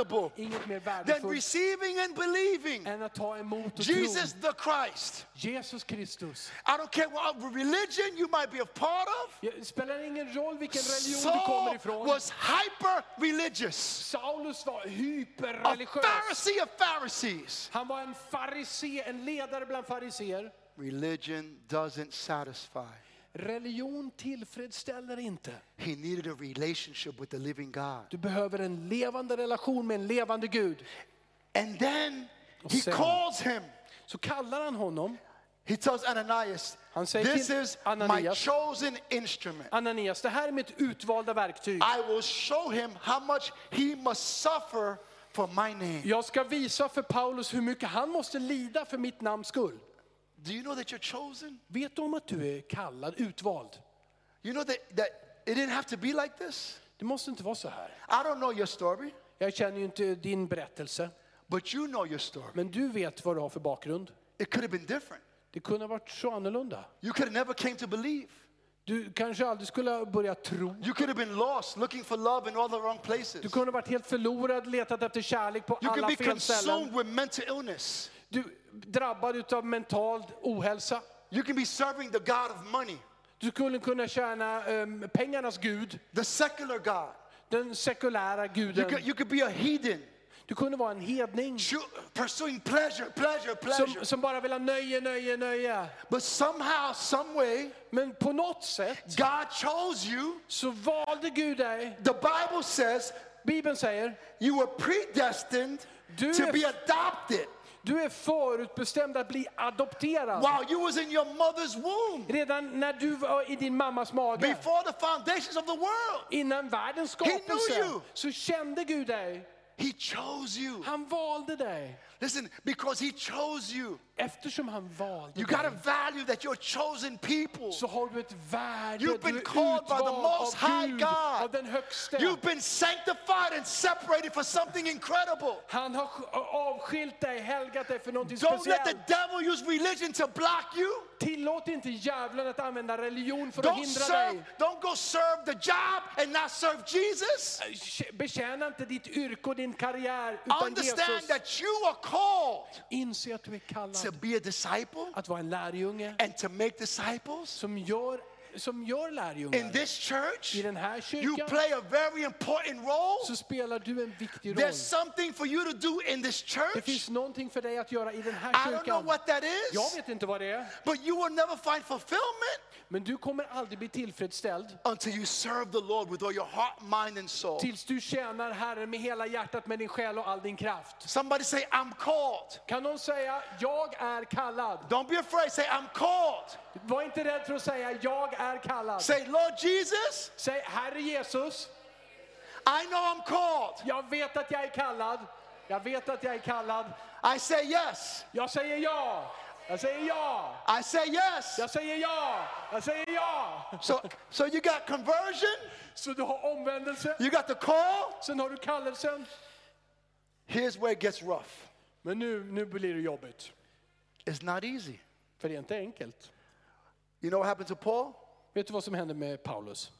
S2: valuable
S1: inget mer
S2: than
S1: värdefullt
S2: receiving and believing
S1: än att ta emot och
S2: Jesus
S1: tro
S2: the Christ.
S1: Jesus Kristus.
S2: I don't care what religion you might be a part of.
S1: Ja, Det spelar ingen roll vilken religion du kommer
S2: Saul
S1: ifrån.
S2: was hyper religious,
S1: Saulus var
S2: a
S1: hyperreligiös.
S2: Pharisee of Pharisees.
S1: Han var en farisé, en ledare bland fariséer.
S2: Religion doesn't satisfy.
S1: Religion tillfredsställer inte.
S2: He needed a relationship with the living God.
S1: Du behöver en levande relation med en levande Gud.
S2: And then he
S1: sen-
S2: calls him.
S1: Så kallar han honom,
S2: He tells Ananias,
S1: Han säger
S2: This
S1: till
S2: is my
S1: Ananias-
S2: chosen instrument.
S1: Ananias, det här är mitt utvalda verktyg.
S2: I will show him how much he must suffer for my name.
S1: Jag ska visa för Paulus hur mycket han måste lida för mitt namns skull.
S2: Do you know that you're chosen?
S1: Vet du om att du är kallad, utvald?
S2: You know that, that it didn't have to be like this?
S1: Det måste inte vara så här.
S2: I don't know your story,
S1: Jag känner ju inte din berättelse,
S2: but you know your story.
S1: men du vet vad du har för bakgrund.
S2: It could have been different.
S1: Det kunde ha varit så annorlunda.
S2: You could have never came to believe.
S1: Du kanske aldrig skulle ha börjat tro.
S2: You could have been lost looking for love in all the wrong places.
S1: Du kunde ha varit helt förlorad, letat efter kärlek på
S2: You could
S1: alla
S2: be
S1: fel
S2: consumed
S1: ställen.
S2: with mental illness.
S1: Du drabbad av mental ohälsa.
S2: You can be serving the God of money,
S1: Du skulle kunna tjäna ehm, pengarnas gud,
S2: the secular God.
S1: den sekulära
S2: You
S1: guden.
S2: could, you could be a heathen,
S1: Du kunde vara en hedning
S2: chu- pursuing pleasure, pleasure, pleasure.
S1: som, som bara vill ha nöje, nöje, nöje.
S2: But somehow, some way,
S1: Men på något sätt
S2: God chose you.
S1: så valde Gud dig.
S2: The Bible says
S1: Bibeln säger,
S2: you were predestined
S1: Du
S2: to
S1: är-
S2: be adopted
S1: du är förutbestämd att bli adopterad.
S2: while you was in your mother's womb,
S1: Redan när du var i din mammas mage,
S2: before the foundations of the world.
S1: innan världens
S2: knew you.
S1: skapelse, så kände Gud dig.
S2: He chose you.
S1: Han valde dig
S2: Listen, because he chose you.
S1: eftersom han valde
S2: You
S1: dig.
S2: got to value that you're chosen people.
S1: så har du ett värde.
S2: You've
S1: du är
S2: been called by the
S1: utvald
S2: Most
S1: av
S2: High
S1: Gud,
S2: God.
S1: av den högste.
S2: You've been sanctified and separated for something incredible.
S1: Han har sk- avskilt dig, helgat dig för någonting
S2: Don't let
S1: speciellt.
S2: the devil use religion to block you.
S1: Tillåt inte djävulen att använda religion för att
S2: Don't
S1: hindra
S2: serve,
S1: dig.
S2: don't go serve the job and not serve Jesus.
S1: Tj- Betjäna inte ditt yrke och din karriär utan
S2: Understand
S1: Jesus.
S2: that you are called
S1: Inse att du är
S2: to
S1: kallad
S2: be a disciple
S1: att vara en lärjunge
S2: and to make disciples.
S1: som gör, som gör lärjungar.
S2: In this church,
S1: I den här
S2: you
S1: kyrkan
S2: play a very important role.
S1: så spelar du en viktig roll.
S2: There's something for you to do in this
S1: Det
S2: church.
S1: finns någonting för dig att göra i den
S2: I
S1: här
S2: don't know
S1: kyrkan.
S2: what that
S1: Jag
S2: is,
S1: vet inte vad det är,
S2: but you will never find fulfillment
S1: men du kommer aldrig bli tillfredsställd
S2: until you serve the Lord with all your heart, mind, and soul.
S1: tills du tjänar Herren med hela hjärtat, med din själ och all din kraft.
S2: Somebody say, I'm called.
S1: Kan någon säga, jag är kallad?
S2: Don't be afraid. Say, I'm called.
S1: Var inte rädd för att säga, jag är kallad.
S2: Say, Lord Jesus,
S1: Säg, Herre Jesus,
S2: I know I'm called.
S1: jag vet att jag är kallad. Jag vet att jag är kallad.
S2: I say yes.
S1: Jag säger ja. Jag säger ja.
S2: I say yes.
S1: Jag säger ja. Jag säger ja.
S2: So, so you got conversion,
S1: Så du har omvändelse,
S2: you got the call.
S1: sen har du kallelsen.
S2: Here's where it gets rough
S1: Men nu, nu blir det jobbigt.
S2: it's not easy.
S1: För det är inte enkelt.
S2: You know what happened to Paul?
S1: Vet du vad som hände med Paulus?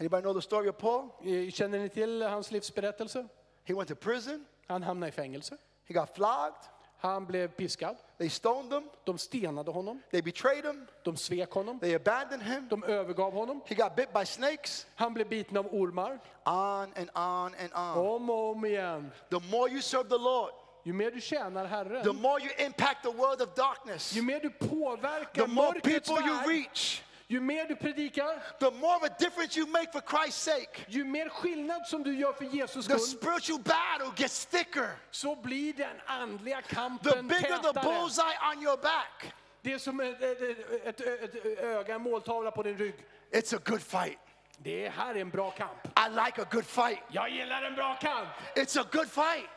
S2: Anybody know the story of Paul?
S1: Eh, Känner ni till hans livsberättelse?
S2: He went to prison,
S1: Han hamnade i fängelse.
S2: he got flogged,
S1: Han blev piskad.
S2: they stoned him,
S1: De stenade honom.
S2: they betrayed him,
S1: De svek honom.
S2: they abandoned him,
S1: De övergav honom.
S2: he got bit by snakes.
S1: Han blev biten av ormar.
S2: On and on and on.
S1: Om och om igen.
S2: The more you serve the Lord,
S1: Ju mer du tjänar
S2: the
S1: Herren,
S2: more you impact the world of darkness,
S1: ju mer du
S2: the
S1: påverkar
S2: more
S1: mörkrets
S2: people you
S1: värld,
S2: reach,
S1: ju mer du predikar,
S2: the more of a difference you make for Christ's sake.
S1: ju mer skillnad som du gör för Jesus skull,
S2: The spiritual battle gets thicker.
S1: så blir den andliga
S2: The
S1: kampen
S2: bigger the
S1: tätare.
S2: bullseye on your back,
S1: Det är som ett, ett, ett, ett, ett öga, en måltavla på din rygg.
S2: it's a good fight.
S1: Det här är en bra kamp.
S2: I like a good fight.
S1: Jag gillar en bra kamp.
S2: It's a good fight.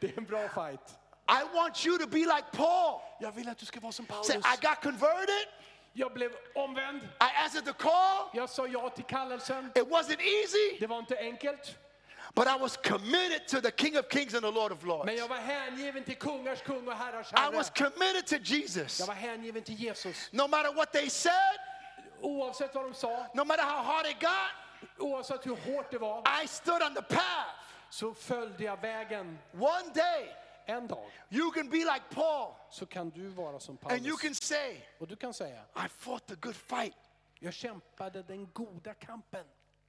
S1: Det är en bra fight.
S2: I want you to be like Paul.
S1: Jag vill att du ska vara som
S2: Say,
S1: Paulus.
S2: I got converted.
S1: Jag blev omvänd.
S2: I answered the call.
S1: Jag sa ja till kallelsen.
S2: It wasn't easy,
S1: Det var inte enkelt,
S2: but I was committed to the King of Kings and the Lord of Lords.
S1: men jag var hängiven till kungars kung och herrars
S2: I
S1: herre.
S2: was committed to Jesus.
S1: Jag var hängiven till Jesus.
S2: No matter what they said,
S1: Oavsett vad de sa,
S2: no matter how hard it got,
S1: oavsett hur hårt det var,
S2: I stood on the path.
S1: så följde jag vägen.
S2: One day,
S1: En dag
S2: you can be like Paul
S1: så kan du vara som
S2: and you
S1: Paulus.
S2: can say,
S1: Och du kan säga,
S2: I fought the good fight.
S1: jag kämpade den goda kampen.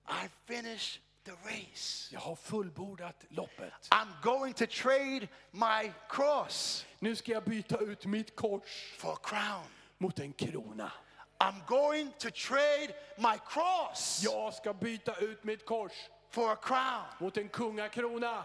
S2: I finished the race.
S1: Jag har fullbordat loppet.
S2: I'm going to trade my cross
S1: Nu ska jag byta ut mitt kors
S2: for a crown.
S1: mot en krona.
S2: I'm going to trade my cross
S1: Jag ska byta ut mitt kors
S2: for a crown.
S1: mot en kungakrona.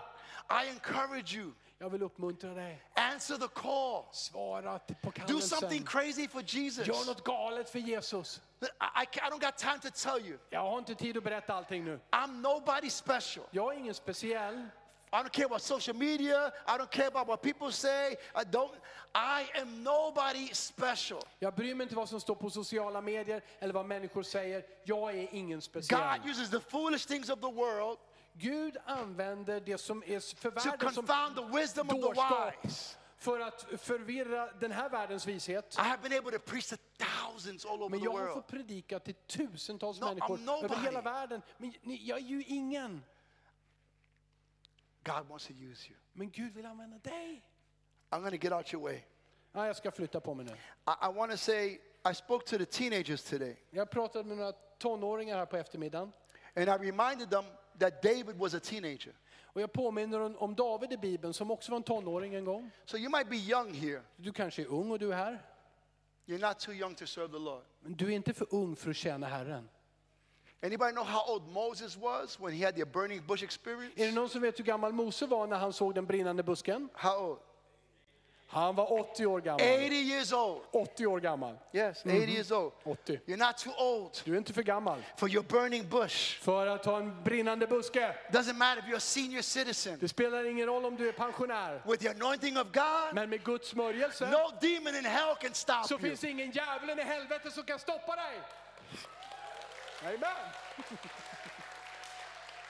S2: I encourage you,
S1: Jag vill uppmuntra dig.
S2: answer the call.
S1: Svara på
S2: Do something
S1: kallelsen.
S2: crazy for Jesus.
S1: Gör något galet för Jesus.
S2: I, I ca- I don't got time to tell you.
S1: Jag har inte tid att berätta allting nu.
S2: I'm nobody special.
S1: Jag är ingen speciell.
S2: I don't care about social media. I don't care about what people say. I don't. I am nobody special.
S1: Jag bryr mig inte vad som står på sociala medier eller vad människor säger. Jag är ingen speciell.
S2: God uses the foolish things of the world
S1: Gud använder det som är för
S2: to
S1: världen som
S2: confound the wisdom of the
S1: dårskap
S2: wise.
S1: för att förvirra den här världens vishet.
S2: I have been able to preach to thousands all over
S1: Men
S2: the
S1: jag har fått
S2: world.
S1: predika till tusentals
S2: No, I'm
S1: människor över
S2: nobody.
S1: hela världen. Men ni- jag är ju ingen.
S2: God wants to use you.
S1: Men Gud vill använda dig.
S2: I'm going to get out your way.
S1: Ja, jag ska flytta på mig nu.
S2: I, I want to say, I spoke to the teenagers today,
S1: Jag pratade med några tonåringar här på eftermiddagen.
S2: and I reminded them that David was a teenager.
S1: Och jag påminner om- om David i Bibeln som också var en tonåring en gång.
S2: So you might be young here.
S1: Du kanske är ung och du är här.
S2: You're not too young to serve the Lord.
S1: Men du är inte för ung för att tjäna Herren.
S2: Anybody know how old Moses was when he had the burning bush experience?
S1: Är det någon som vet hur gammal Mose var när han såg den brinnande busken?
S2: How old?
S1: Han var 80 år gammal.
S2: 80 years old.
S1: 80 år gammal.
S2: Oh, Yes, Mm-hmm. 80 years old.
S1: 80.
S2: You're not too old
S1: Du är inte för gammal
S2: for your burning bush.
S1: för att ha en brinnande buske.
S2: Doesn't matter if you're a senior citizen.
S1: Det spelar ingen roll om du är pensionär.
S2: With the anointing of God,
S1: Men med Guds smörjelse
S2: no demon in hell can stop
S1: så
S2: you.
S1: finns det ingen djävulen i helvetet som kan stoppa dig. Amen.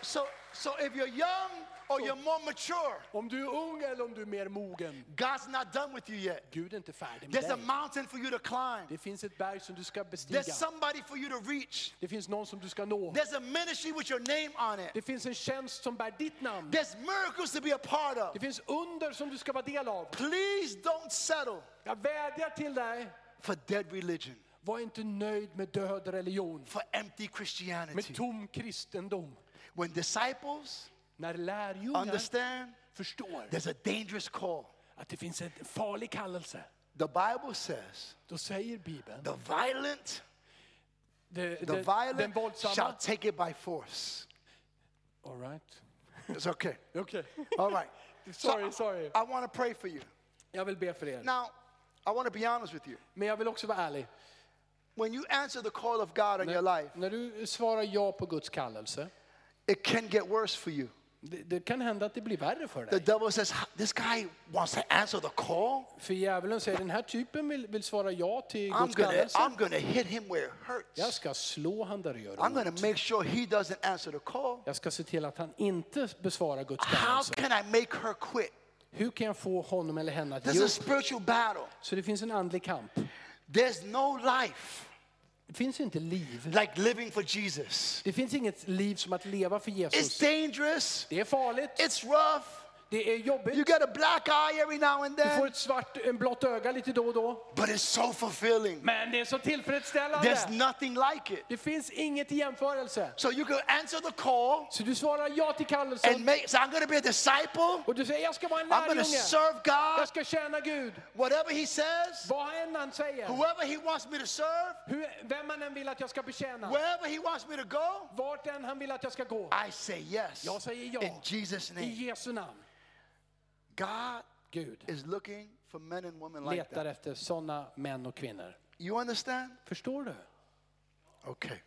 S2: So, so if you're young or you're more mature,
S1: Om du är ung eller om du är mer mogen.
S2: God's not done with you yet.
S1: Gud är inte färdig med
S2: There's a
S1: dig.
S2: mountain for you to climb.
S1: Det finns ett berg som du ska bestiga.
S2: There's somebody for you to reach.
S1: Det finns någon som du ska nå.
S2: There's a ministry with your name on it.
S1: Det finns en tjänst som bär ditt namn.
S2: There's miracles to be a part of.
S1: Det finns under som du ska vara del av.
S2: Please don't settle
S1: Jag vädjar till dig,
S2: for dead religion,
S1: var inte nöjd med död religion,
S2: for empty
S1: med
S2: Christianity.
S1: tom kristendom.
S2: When disciples
S1: När lärjungar
S2: understand,
S1: förstår
S2: there's a dangerous call.
S1: att det finns en farlig kallelse,
S2: The Bible says
S1: då säger Bibeln,
S2: the violent,
S1: de, de,
S2: the
S1: den
S2: violent shall
S1: våldsamma...
S2: take it by force.
S1: All right.
S2: It's okay.
S1: Okej.
S2: All right.
S1: Sorry,
S2: I-
S1: sorry.
S2: I want to pray for you.
S1: Jag vill be för er.
S2: Now, I want to be honest with you.
S1: Men jag vill också vara ärlig.
S2: When you answer the call of God on your life,
S1: När du svarar ja på Guds kallelse,
S2: it can get worse for you.
S1: det, det kan hända att det blir värre för
S2: The
S1: dig.
S2: devil says, "H- This guy wants to answer the call.
S1: För djävulen säger, den här typen vill, vill svara ja till
S2: I'm
S1: Guds
S2: gonna,
S1: kallelse.
S2: I'm gonna hit him where it
S1: Jag
S2: hurts.
S1: ska slå han där det gör
S2: I'm
S1: ont.
S2: gonna make sure he doesn't answer the call.
S1: Jag ska se till att han inte besvarar Guds
S2: How
S1: kallelse.
S2: can I make her quit?
S1: Hur kan jag få honom eller henne att
S2: There's
S1: ge
S2: a
S1: upp?
S2: spiritual battle.
S1: Så det finns en andlig kamp.
S2: There's no life
S1: Det finns inte liv.
S2: like living for Jesus.
S1: Det finns inget liv som att leva för
S2: It's
S1: Jesus.
S2: dangerous.
S1: Det är farligt,
S2: It's rough.
S1: det är
S2: You
S1: jobbigt,
S2: get a black eye every now and
S1: du får
S2: then,
S1: ett svart, en blått öga lite då och då.
S2: but it's so fulfilling.
S1: Men det är så
S2: There's
S1: tillfredsställande.
S2: nothing like it.
S1: Det finns inget i jämförelse.
S2: So you can answer the call
S1: Så du svarar ja till
S2: and
S1: kallelsen
S2: make. So I'm going to be a disciple.
S1: och du säger jag ska vara en
S2: I'm going to
S1: lärjunge.
S2: serve God.
S1: Jag ska tjäna Gud.
S2: Whatever He says,
S1: Vad än han säger,
S2: whoever He wants me to serve,
S1: hur, vem han än vill att jag ska betjäna,
S2: wherever He wants me to go,
S1: vart än han vill att jag ska gå.
S2: I say yes.
S1: Jag säger ja.
S2: In Jesus'
S1: I
S2: name,
S1: Jesu namn.
S2: God
S1: Gud
S2: is looking for men and women like
S1: letar
S2: that.
S1: efter sådana män och kvinnor.
S2: You understand?
S1: Förstår du?
S2: Okay.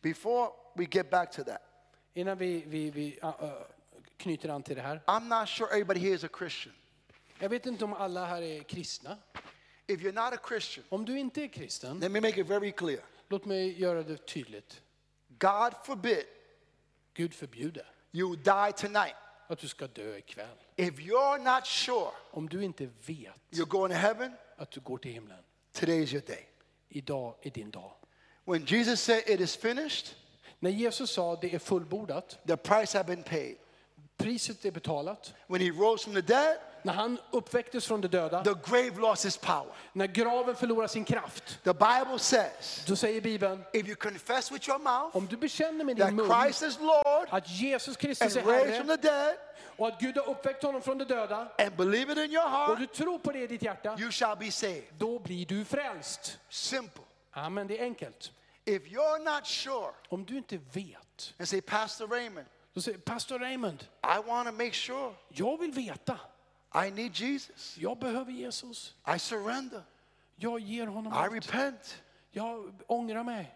S2: Before we get back to that,
S1: Innan vi, vi, vi äh, äh, knyter an till det här.
S2: I'm not sure everybody here is a Christian.
S1: Jag vet inte om alla här är kristna.
S2: If you're not a Christian,
S1: Om du inte är kristen,
S2: let me make it very clear.
S1: låt mig göra det tydligt.
S2: God forbid
S1: Gud förbjuder
S2: you die tonight.
S1: att du ska dö ikväll.
S2: If you're not sure
S1: Om du inte vet
S2: you're going to heaven,
S1: att du går till himlen,
S2: today is your day.
S1: idag är din dag.
S2: When Jesus said it is finished,
S1: När Jesus sa det är fullbordat,
S2: the price had been paid.
S1: priset är betalat.
S2: When he rose from the dead,
S1: När han uppväcktes från de döda,
S2: the grave lost its power.
S1: när graven förlorar sin kraft,
S2: The Bible says,
S1: då säger Bibeln,
S2: if you confess with your mouth
S1: om du bekänner med
S2: that
S1: din mun
S2: Christ is Lord
S1: att Jesus
S2: and
S1: Kristus är
S2: raised from
S1: Herre
S2: the dead
S1: och att Gud har uppväckt honom från de döda
S2: and believe it in your
S1: och
S2: heart,
S1: du tror på det i ditt hjärta,
S2: you shall be saved.
S1: då blir du frälst.
S2: Simple.
S1: Amen, det är enkelt.
S2: If you're not sure
S1: Om du inte vet,
S2: and say, Pastor Raymond,
S1: då säger pastor Raymond,
S2: I want to make sure
S1: jag vill veta.
S2: I need Jesus.
S1: Jag behöver Jesus.
S2: I surrender.
S1: Jag ger honom
S2: I
S1: allt.
S2: repent.
S1: Jag ångrar mig.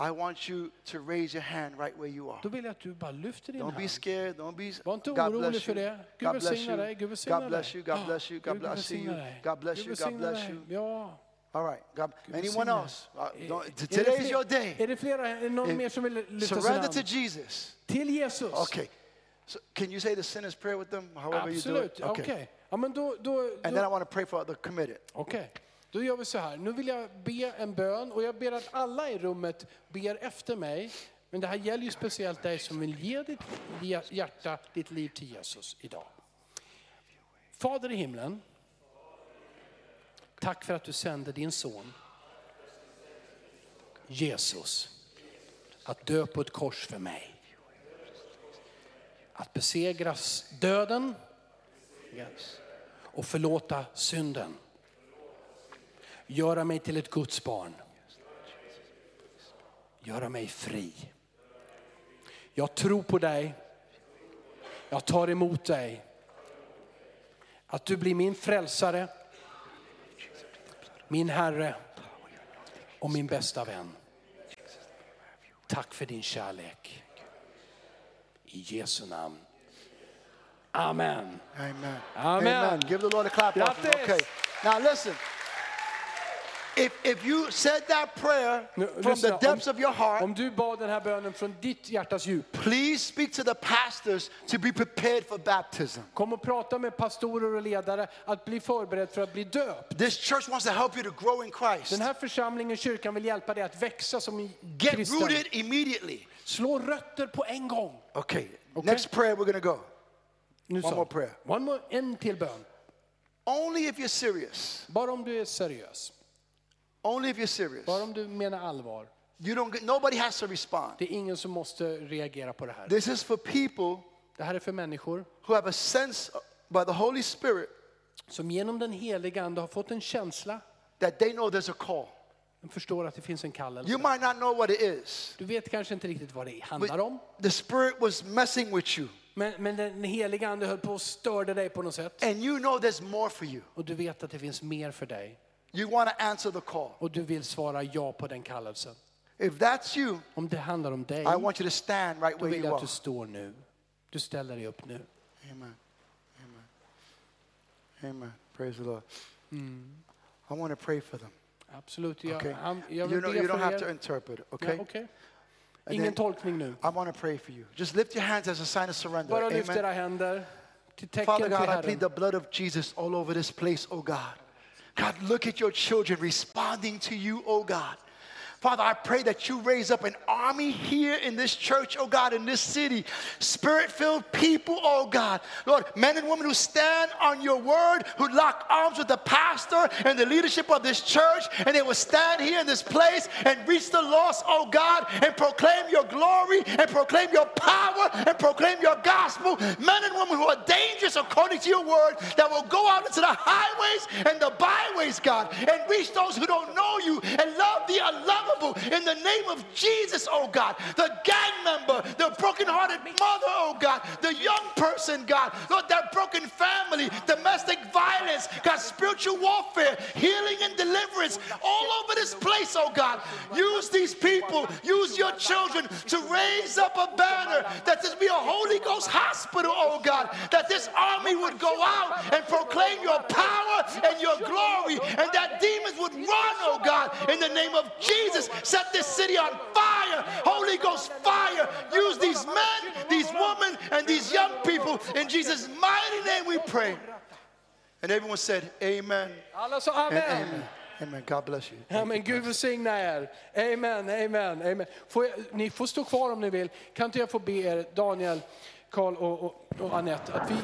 S2: I want you to raise your hand right where you are.
S1: Då vill jag att du bara lyfter din
S2: Don't be
S1: hand.
S2: scared. Don't be.
S1: Var inte
S2: God
S1: orolig
S2: bless
S1: för
S2: you.
S1: det. Gud
S2: God bless
S1: välsigna
S2: you.
S1: dig, Gud välsigna
S2: God bless
S1: dig. Ah,
S2: you. God bless you.
S1: Gud
S2: God bless you.
S1: välsigna dig.
S2: God bless
S1: Gud
S2: you. God
S1: välsigna
S2: bless
S1: dig.
S2: you.
S1: Ja.
S2: All right. God.
S1: Gud
S2: Anyone
S1: välsigna
S2: else? Uh,
S1: dig. Eh,
S2: don't-
S1: Är-
S2: t-
S1: är det
S2: Today is
S1: fler- Är
S2: your day. Eh,
S1: det flera, är det någon mer som vill lyfta sin
S2: Surrender to
S1: hand?
S2: Jesus.
S1: Till Jesus.
S2: Okay. So can you say the sinner's prayer with them? However you do
S1: Absolut,
S2: it.
S1: okej. Ja, men då, då,
S2: And then I
S1: då,
S2: want to pray for the committed.
S1: okej. Då gör vi så här, nu vill jag be en bön och jag ber att alla i rummet ber efter mig. Men det här gäller ju speciellt dig som vill ge ditt hjärta, ditt liv till Jesus idag. Fader i himlen, tack för att du sände din son Jesus att dö på ett kors för mig. Att besegras döden och förlåta synden. Göra mig till ett Guds barn. Göra mig fri. Jag tror på dig. Jag tar emot dig. Att du blir min frälsare, min Herre och min bästa vän. Tack för din kärlek. I Jesu namn. Amen.
S2: Amen.
S1: Amen.
S2: Give the Lord a clap. offering.
S1: Grattis.
S2: Okay. Now listen. If, if you said that prayer
S1: Nu,
S2: from
S1: lyssna,
S2: the depths
S1: om,
S2: of your heart,
S1: om du bad den här bönen från ditt hjärtas djup,
S2: please speak to the pastors to be prepared for baptism.
S1: kom och prata med pastorer och ledare att bli förberedd för att bli döpt.
S2: This church wants to help you to grow in Christ.
S1: Den här församlingen, kyrkan, vill hjälpa dig att växa som en
S2: Get
S1: kristen.
S2: rooted immediately.
S1: Slå rötter på en gång.
S2: Okay. Next prayer we're going to go.
S1: Nu
S2: One
S1: så.
S2: more prayer.
S1: One more, en till bön.
S2: Only if you're serious.
S1: Bara om du är seriös.
S2: Only if you're serious.
S1: Bara om du menar allvar.
S2: You don't get, nobody has to respond.
S1: Det är ingen som måste reagera på det här.
S2: This is for people
S1: Det här är för människor
S2: who have a sense by the Holy Spirit
S1: som genom den heliga Ande har fått en känsla.
S2: that they know there's a call.
S1: De förstår att det finns en
S2: You
S1: kallelse.
S2: might not know what it is,
S1: Du vet kanske inte riktigt vad det handlar om.
S2: but the Spirit was messing with you,
S1: Men, men den heliga Ande höll på och störde dig på något sätt.
S2: and you know there's more for you.
S1: Och du vet att det finns mer för dig.
S2: You want to answer the call.
S1: Och du vill svara ja på den kallelsen.
S2: If that's you,
S1: Om det handlar om dig,
S2: I want you to stand right
S1: då
S2: where
S1: vill jag
S2: you
S1: att
S2: are.
S1: du står nu. Du ställer dig upp nu.
S2: Amen. Amen. Amen. Praise the Lord. I want to pray for them.
S1: Absolut. Jag,
S2: Okay.
S1: han, jag
S2: Uh, You,
S1: vill
S2: know,
S1: be
S2: you don't
S1: för
S2: have
S1: er.
S2: to interpret.
S1: Ja,
S2: Okay.
S1: okej.
S2: And
S1: Ingen
S2: then-
S1: tolkning nu.
S2: I want to pray for you. Just lift your hands as a sign of surrender.
S1: Bara lyft
S2: Amen.
S1: era händer till tecken
S2: Father
S1: till
S2: God, I plead
S1: Herren.
S2: the blood of Jesus all over this place, oh God. God, look at your children responding to you, oh God. Father, I pray that you raise up an army here in this church, oh God, in this city. Spirit filled people, oh God. Lord, men and women who stand on your word, who lock arms with the pastor and the leadership of this church, and they will stand here in this place and reach the lost, oh God, and proclaim your glory and proclaim your power and proclaim your gospel. Men and women who are dangerous according to your word that will go out into the highways and the byways, God, and reach those who don't know you and love the unlovable in the name of Jesus, oh God. The gang member, the brokenhearted mother, oh God, the young person, God, Lord, that broken family, domestic violence, God, spiritual warfare, healing and deliverance all over this place, oh God. Use these people, use your children to raise up a banner that this be a Holy Ghost hospital, oh God, that this army would go out and proclaim your power and your glory, and that demons would run, oh God, in the name of Jesus. Set this city on fire, Holy Ghost fire. Use these men, these women, and these young people. In Jesus' mighty name we pray. And everyone said, Amen.
S1: Alla sa
S2: And
S1: amen.
S2: amen. Amen. God bless you.
S1: Amen. Gud välsigna er. Amen, amen, amen. Får jag, ni får stå kvar om ni vill. Kan inte jag få be er, Daniel, Karl och, och, och Anette, att vi